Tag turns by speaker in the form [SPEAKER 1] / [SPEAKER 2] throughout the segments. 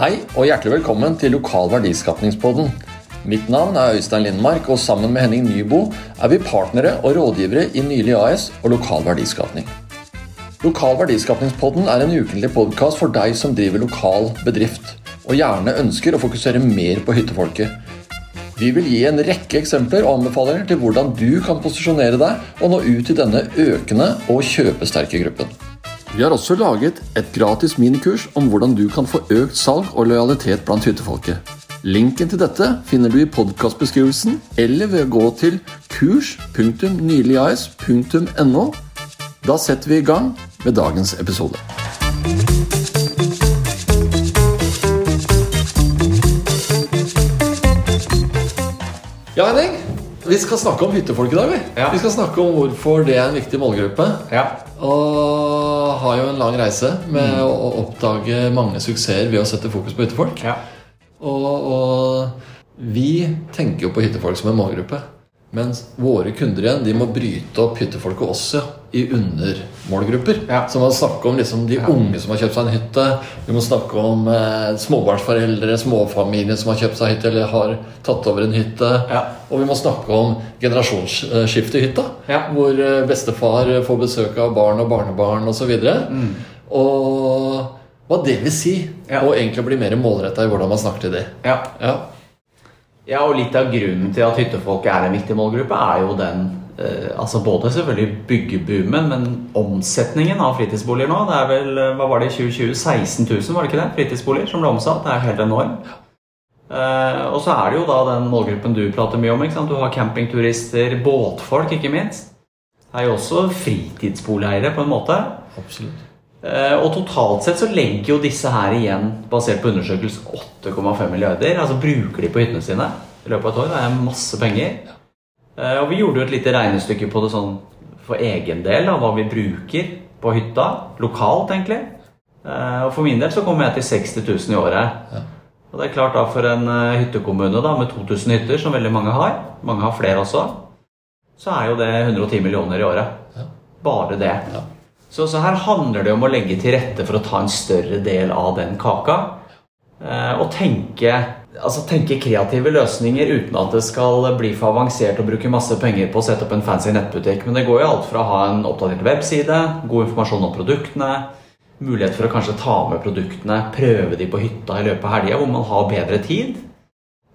[SPEAKER 1] Hei og hjertelig velkommen til Lokal verdiskapningspodden. Mitt navn er Øystein Lindmark, og sammen med Henning Nybo er vi partnere og rådgivere i Nylig AS og Lokal verdiskapning. Lokal verdiskapningspodden er en ukentlig podkast for deg som driver lokal bedrift, og gjerne ønsker å fokusere mer på hyttefolket. Vi vil gi en rekke eksempler og anbefalinger til hvordan du kan posisjonere deg og nå ut til denne økende og kjøpesterke gruppen. Vi har også laget et gratis minikurs om hvordan du kan få økt salg og lojalitet blant hyttefolket. Linken til dette finner du i podkastbeskrivelsen eller ved å gå til kurs.nyligas.no. Da setter vi i gang med dagens episode. Ja, Henning. Vi skal snakke om hyttefolk i dag. Vi,
[SPEAKER 2] Ja.
[SPEAKER 1] vi skal snakke om hvorfor det er en viktig målgruppe.
[SPEAKER 2] Ja.
[SPEAKER 1] Og har jo en lang reise med
[SPEAKER 2] Mm.
[SPEAKER 1] å å oppdage mange suksesser ved å sette fokus på hyttefolk.
[SPEAKER 2] ja.
[SPEAKER 1] Og, og vi tenker jo på hyttefolk som en målgruppe. Mens våre kunder igjen de må bryte opp hyttefolket også i undermålgrupper.
[SPEAKER 2] Ja.
[SPEAKER 1] Så man snakker om liksom de unge som har kjøpt seg en hytte. Vi må snakke om eh, småbarnsforeldre, småfamilier som har kjøpt seg hytte eller har tatt over en hytte.
[SPEAKER 2] Ja.
[SPEAKER 1] Og vi må snakke om generasjonsskifte i hytta.
[SPEAKER 2] Ja.
[SPEAKER 1] Hvor eh, bestefar eh, får besøk av barn og barnebarn osv. Og, så videre. og hva det vil si.
[SPEAKER 2] Ja.
[SPEAKER 1] Og egentlig bli mer målretta i hvordan man snakker til de.
[SPEAKER 2] ja.
[SPEAKER 1] Ja.
[SPEAKER 2] Ja, og litt av grunnen til at hyttefolket er en viktig målgruppe, er jo den eh, Altså både selvfølgelig byggeboomen, men omsetningen av fritidsboliger nå. Det er vel, eh, hva var det i 2020? 16 000, var det ikke det? Fritidsboliger som ble omsatt. Det er helt enormt. Eh, og så er det jo da den målgruppen du prater mye om. ikke sant? Du har campingturister, båtfolk, ikke minst. Det er jo også fritidsboligeiere, på en måte.
[SPEAKER 1] Absolutt.
[SPEAKER 2] Eh, Og totalt sett så legger jo disse her igjen, basert på undersøkelse, 8,5 milliarder. Altså bruker de på hyttene sine i løpet av et år. Det er masse penger. Eh, Og vi gjorde jo et lite regnestykke på det sånn for egen del, da, hva vi bruker på hytta. Lokalt, egentlig. Eh, Og for min del så kommer jeg til 60 000 i året. Og det er klart da for en eh, hyttekommune da, med 2000 hytter, som veldig mange har, mange har flere også, så er jo det 110 millioner i året. Bare det.
[SPEAKER 1] Ja.
[SPEAKER 2] Så, så her handler det om å legge til rette for å ta en større del av den kaka. eh, Og tenke, altså tenke kreative løsninger uten at det skal bli for avansert og bruke masse penger på å sette opp en fancy nettbutikk. Men det går jo alt fra å ha en oppdatert webside, god informasjon om produktene, mulighet for å kanskje ta med produktene, prøve de på hytta i løpet av helga hvor man har bedre tid.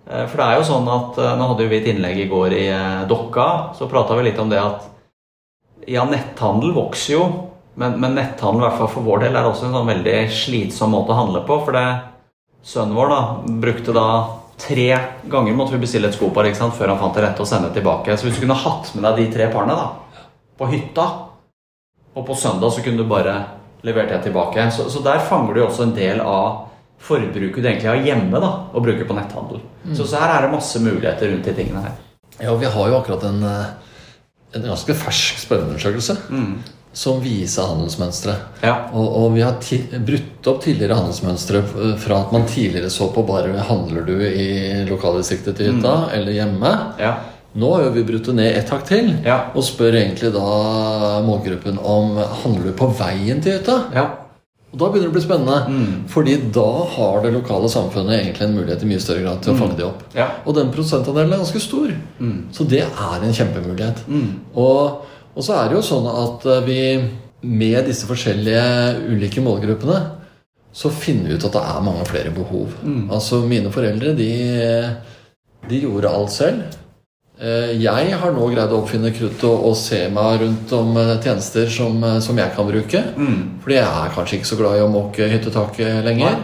[SPEAKER 2] Eh, For det er jo sånn at eh, Nå hadde jo vi et innlegg i går i eh, Dokka. Så prata vi litt om det at ja, netthandel vokser jo. Men, men netthandel, i hvert fall for vår del, er også en sånn veldig slitsom måte å handle på. For det, sønnen vår da, brukte da tre ganger måtte vi bestille et skopar ikke sant, før han fant det rette å sende tilbake. Så hvis du kunne hatt med deg de tre parene da, på hytta, og på søndag så kunne du bare levert det tilbake. Så, så der fanger du jo også en del av forbruket du egentlig har hjemme da, og bruker på netthandel. Så, så her er det masse muligheter rundt de tingene her.
[SPEAKER 1] Ja, og vi har jo akkurat en, eh, en ganske fersk spørreundersøkelse som viser handelsmønsteret.
[SPEAKER 2] Ja.
[SPEAKER 1] Og, og vi har ti brutt opp tidligere handelsmønstre f- fra at man tidligere så på bare handler du i lokaldistriktet til hytta eller hjemme.
[SPEAKER 2] Ja.
[SPEAKER 1] Nå har jo vi brutt det ned ett hakk til
[SPEAKER 2] Ja.
[SPEAKER 1] og spør egentlig da målgruppen om handler du på veien til hytta.
[SPEAKER 2] Ja.
[SPEAKER 1] Og Da begynner det å bli spennende.
[SPEAKER 2] Mm.
[SPEAKER 1] Fordi da har det lokale samfunnet egentlig en mulighet i mye større grad til å fange de opp.
[SPEAKER 2] Mm. Ja. Mm.
[SPEAKER 1] Og den prosentandelen er ganske stor. Så det er en kjempemulighet. Og, og så er det jo sånn at eh, vi med disse forskjellige ulike målgruppene så finner vi ut at det er mange flere behov.
[SPEAKER 2] Mm.
[SPEAKER 1] Altså mine foreldre, de, de gjorde alt selv. Eh, Jeg har nå greid å oppfinne kruttet og og se meg rundt om eh, tjenester som, eh, som jeg kan bruke.
[SPEAKER 2] Mm.
[SPEAKER 1] Fordi jeg er kanskje ikke så glad i å måke hyttetaket lenger.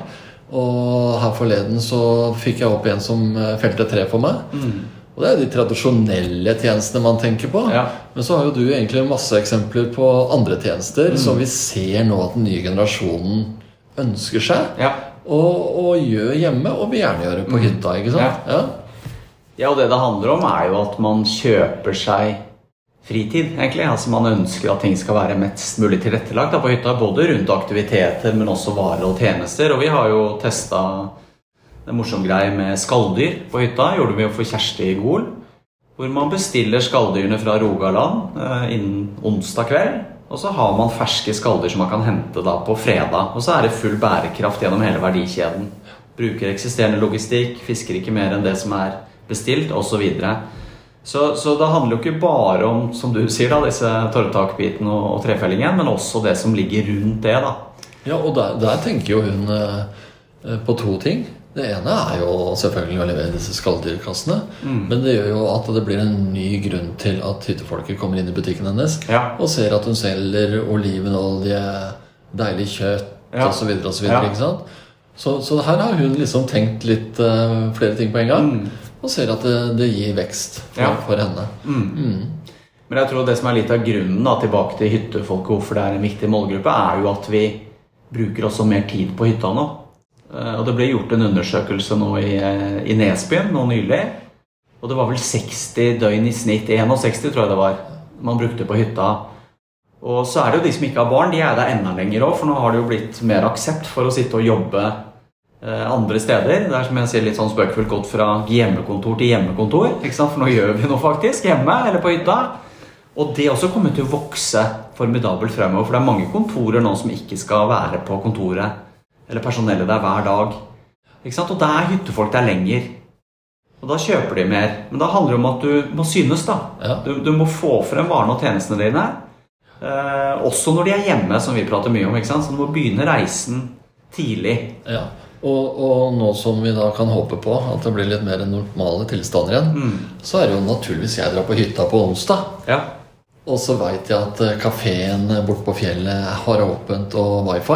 [SPEAKER 1] Og her forleden så fikk jeg opp en som eh, felte tre for meg.
[SPEAKER 2] Mm.
[SPEAKER 1] Og det er de tradisjonelle tjenestene man tenker på.
[SPEAKER 2] Ja.
[SPEAKER 1] Men så har jo du egentlig masse eksempler på andre
[SPEAKER 2] Mm.
[SPEAKER 1] tjenester som vi ser nå at den nye generasjonen ønsker seg.
[SPEAKER 2] Ja. Mm.
[SPEAKER 1] Og, og gjør hjemme, og vil gjerne gjøre på hytta. ikke sant? Ja.
[SPEAKER 2] Ja, og det det handler om er jo at man kjøper seg fritid, egentlig. Altså Man ønsker at ting skal være mest mulig tilrettelagt da, på hytta. Både rundt aktiviteter, men også varer og tjenester. Og vi har jo testa en morsom greie med skalldyr på hytta. Gjorde vi jo for Kjersti Gol. Hvor man bestiller skalldyrene fra Rogaland eh, innen onsdag kveld. Og så har man ferske skalldyr som man kan hente da på fredag. Og så er det full bærekraft gjennom hele verdikjeden. bruker eksisterende logistikk, fisker ikke mer enn det som er bestilt, osv. Så, videre. så så det handler jo ikke bare om som du sier da, disse torvtakbitene og, og trefellingen, men også det som ligger rundt det. da.
[SPEAKER 1] Ja, og der, der tenker jo hun eh, eh, på to ting. Det ene er jo selvfølgelig å levere disse skalldyrkassene.
[SPEAKER 2] Mm.
[SPEAKER 1] Men det gjør jo at det blir en ny grunn til at hyttefolket kommer inn i butikken hennes
[SPEAKER 2] Ja.
[SPEAKER 1] og ser at hun selger olivenolje, deilig kjøtt
[SPEAKER 2] Ja.
[SPEAKER 1] osv. osv.
[SPEAKER 2] Ja.
[SPEAKER 1] Så, så her har hun liksom tenkt litt eh, flere ting på en gang. Og ser at det, det gir vekst for,
[SPEAKER 2] Mm. Ja. Mm.
[SPEAKER 1] for henne.
[SPEAKER 2] Men jeg tror det som er litt av grunnen da, tilbake til hyttefolket, hvorfor det er en viktig målgruppe, er jo at vi bruker også mer tid på hytta nå. Eh, Og det ble gjort en undersøkelse nå i, eh, i Nesbyen nå nylig. Og det var vel 60 døgn i snitt. 61 tror jeg det var. Man brukte på hytta. Og så er det jo de som ikke har barn, de er der enda lenger òg, for nå har det jo blitt mer aksept for å sitte og jobbe eh, andre steder. Det er som jeg sier litt sånn spøkefullt gått fra hjemmekontor til hjemmekontor. ikke sant? For nå gjør vi noe faktisk, hjemme eller på hytta. Og det også kommer til å vokse formidabelt fremover, for det er mange kontorer nå som ikke skal være på kontoret, eller personellet der hver dag. Ikke sant? Og da er hyttefolk der lenger. Og da kjøper de mer. Men da handler det om at du må synes, da.
[SPEAKER 1] Ja.
[SPEAKER 2] Du, du må få frem varene og tjenestene dine. Eh, også når de er hjemme, som vi prater mye om. Ikke sant? Så du må begynne reisen tidlig.
[SPEAKER 1] Ja, og, og nå som vi da kan håpe på at det blir litt mer normale tilstander igjen,
[SPEAKER 2] Mm.
[SPEAKER 1] så er det jo naturligvis jeg drar på hytta på onsdag.
[SPEAKER 2] Ja.
[SPEAKER 1] Og så veit jeg at kafeen borte på fjellet har åpent og wifi.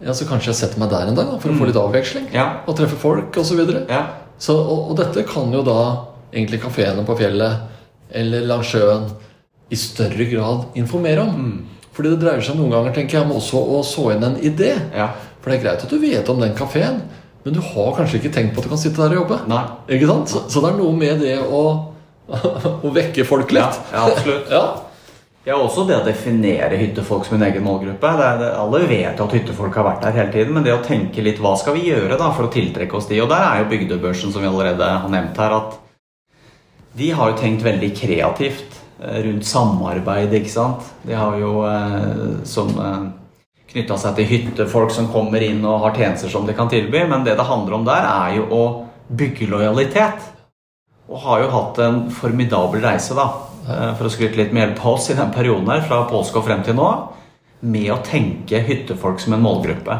[SPEAKER 1] Ja, Så kanskje jeg setter meg der en dag da, for å få litt avveksling.
[SPEAKER 2] Mm. Ja.
[SPEAKER 1] Og treffe folk osv. Så videre.
[SPEAKER 2] ja.
[SPEAKER 1] Så, og, og dette kan jo da egentlig kafeene på fjellet eller langs sjøen i større grad informere om.
[SPEAKER 2] Mm.
[SPEAKER 1] Fordi det dreier seg noen ganger tenker jeg, om også å så inn en idé.
[SPEAKER 2] Ja.
[SPEAKER 1] For det er greit at du vet om den kafeen, men du har kanskje ikke tenkt på at du kan sitte der og jobbe.
[SPEAKER 2] Nei.
[SPEAKER 1] Ikke sant? Så, så det er noe med det å, å vekke folk
[SPEAKER 2] Ja,
[SPEAKER 1] litt.
[SPEAKER 2] ja absolutt.
[SPEAKER 1] Ja.
[SPEAKER 2] Ja, også det å definere hyttefolk som en egen målgruppe. Det er, det, alle vet jo at hyttefolk har vært der hele tiden, men det å tenke litt hva skal vi gjøre da for å tiltrekke oss de? Og der er jo Bygdebørsen, som vi allerede har nevnt her, at de har jo tenkt veldig kreativt eh, rundt samarbeid, ikke sant. De har jo eh, som eh, knytta seg til hyttefolk som kommer inn og har tjenester som de kan tilby, men det det handler om der, er jo å bygge lojalitet. Og har jo hatt en formidabel reise, da. eh, For å skryte litt med hjelp av oss i den perioden her, fra påske og frem til nå. Med å tenke hyttefolk som en målgruppe.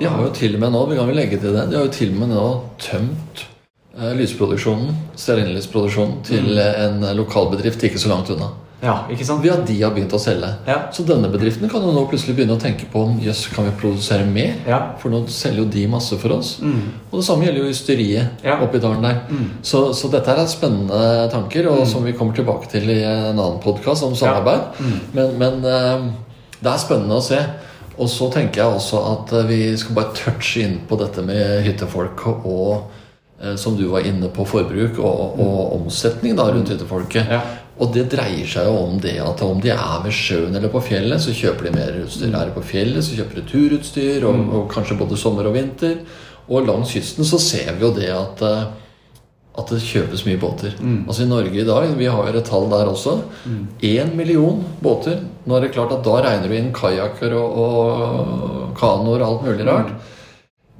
[SPEAKER 1] De har jo til og med nå vi kan vel legge til det, de har jo til og med nå tømt eh, lysproduksjonen, stearinlysproduksjonen, til
[SPEAKER 2] Mm.
[SPEAKER 1] eh, en lokalbedrift ikke så langt unna.
[SPEAKER 2] Ja, ikke sant?
[SPEAKER 1] Ved at de har begynt å selge.
[SPEAKER 2] Ja.
[SPEAKER 1] Så denne bedriften kan jo nå plutselig begynne å tenke på om jøss, kan vi produsere mer?
[SPEAKER 2] Ja. Mm.
[SPEAKER 1] For nå selger jo de masse for oss. Og det samme gjelder jo ysteriet
[SPEAKER 2] Ja.
[SPEAKER 1] oppe i dalen der. Så, så dette her er spennende tanker, og som vi kommer tilbake til i en annen podkast om samarbeid. Men, men eh, det er spennende å se. Og så tenker jeg også at eh, vi skal bare touche inn på dette med hyttefolk og eh, som du var inne på, forbruk og, og omsetning da rundt hyttefolket.
[SPEAKER 2] Ja.
[SPEAKER 1] Og det dreier seg jo om det at om de er ved sjøen eller på fjellet, så kjøper de mer utstyr. Er de på fjellet, så kjøper de turutstyr, og, og kanskje både sommer og vinter. Og langs kysten så ser vi jo det at, eh, at det kjøpes mye båter. Altså I Norge i dag, vi har jo et tall der også, én million båter. Nå er det klart at da regner du inn kajakker og, og kanoer og alt mulig rart.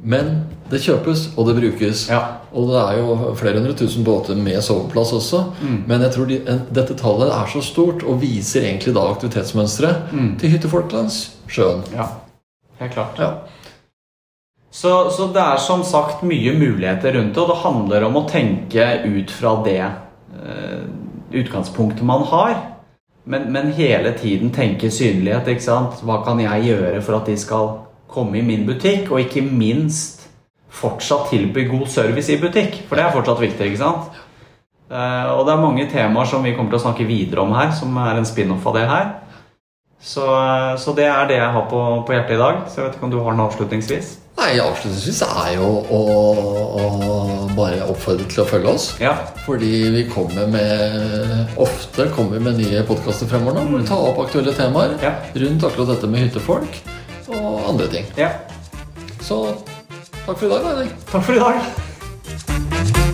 [SPEAKER 1] Men det kjøpes, og det brukes.
[SPEAKER 2] Ja.
[SPEAKER 1] Og det er jo flere hundre tusen båter med soveplass også. Men jeg tror de, en, dette tallet er så stort og viser egentlig da aktivitetsmønsteret til hyttefolk langs sjøen.
[SPEAKER 2] Ja, helt klart.
[SPEAKER 1] Ja.
[SPEAKER 2] Så, så det er som sagt mye muligheter rundt det, og det handler om å tenke ut fra det eh, utgangspunktet man har. Men, men hele tiden tenke synlighet. ikke sant? Hva kan jeg gjøre for at de skal komme i min butikk? Og ikke minst fortsatt tilby god service i butikk, for det er fortsatt viktig. ikke sant? Eh, og det er mange temaer som vi kommer til å snakke videre om her, som er en spin-off av det her. Så, eh, så det er det jeg har på, på hjertet i dag. Så jeg vet ikke om du har den avslutningsvis?
[SPEAKER 1] Nei, avslutningsvis er jo å, å bare oppfordre til å følge oss.
[SPEAKER 2] Ja.
[SPEAKER 1] Fordi vi kommer med Ofte kommer vi med nye podkaster fremover nå. Hvor vi tar opp aktuelle temaer
[SPEAKER 2] Ja.
[SPEAKER 1] rundt akkurat dette med hyttefolk og andre ting.
[SPEAKER 2] ja.
[SPEAKER 1] Så takk for i dag, da. Henrik.
[SPEAKER 2] Takk for i dag.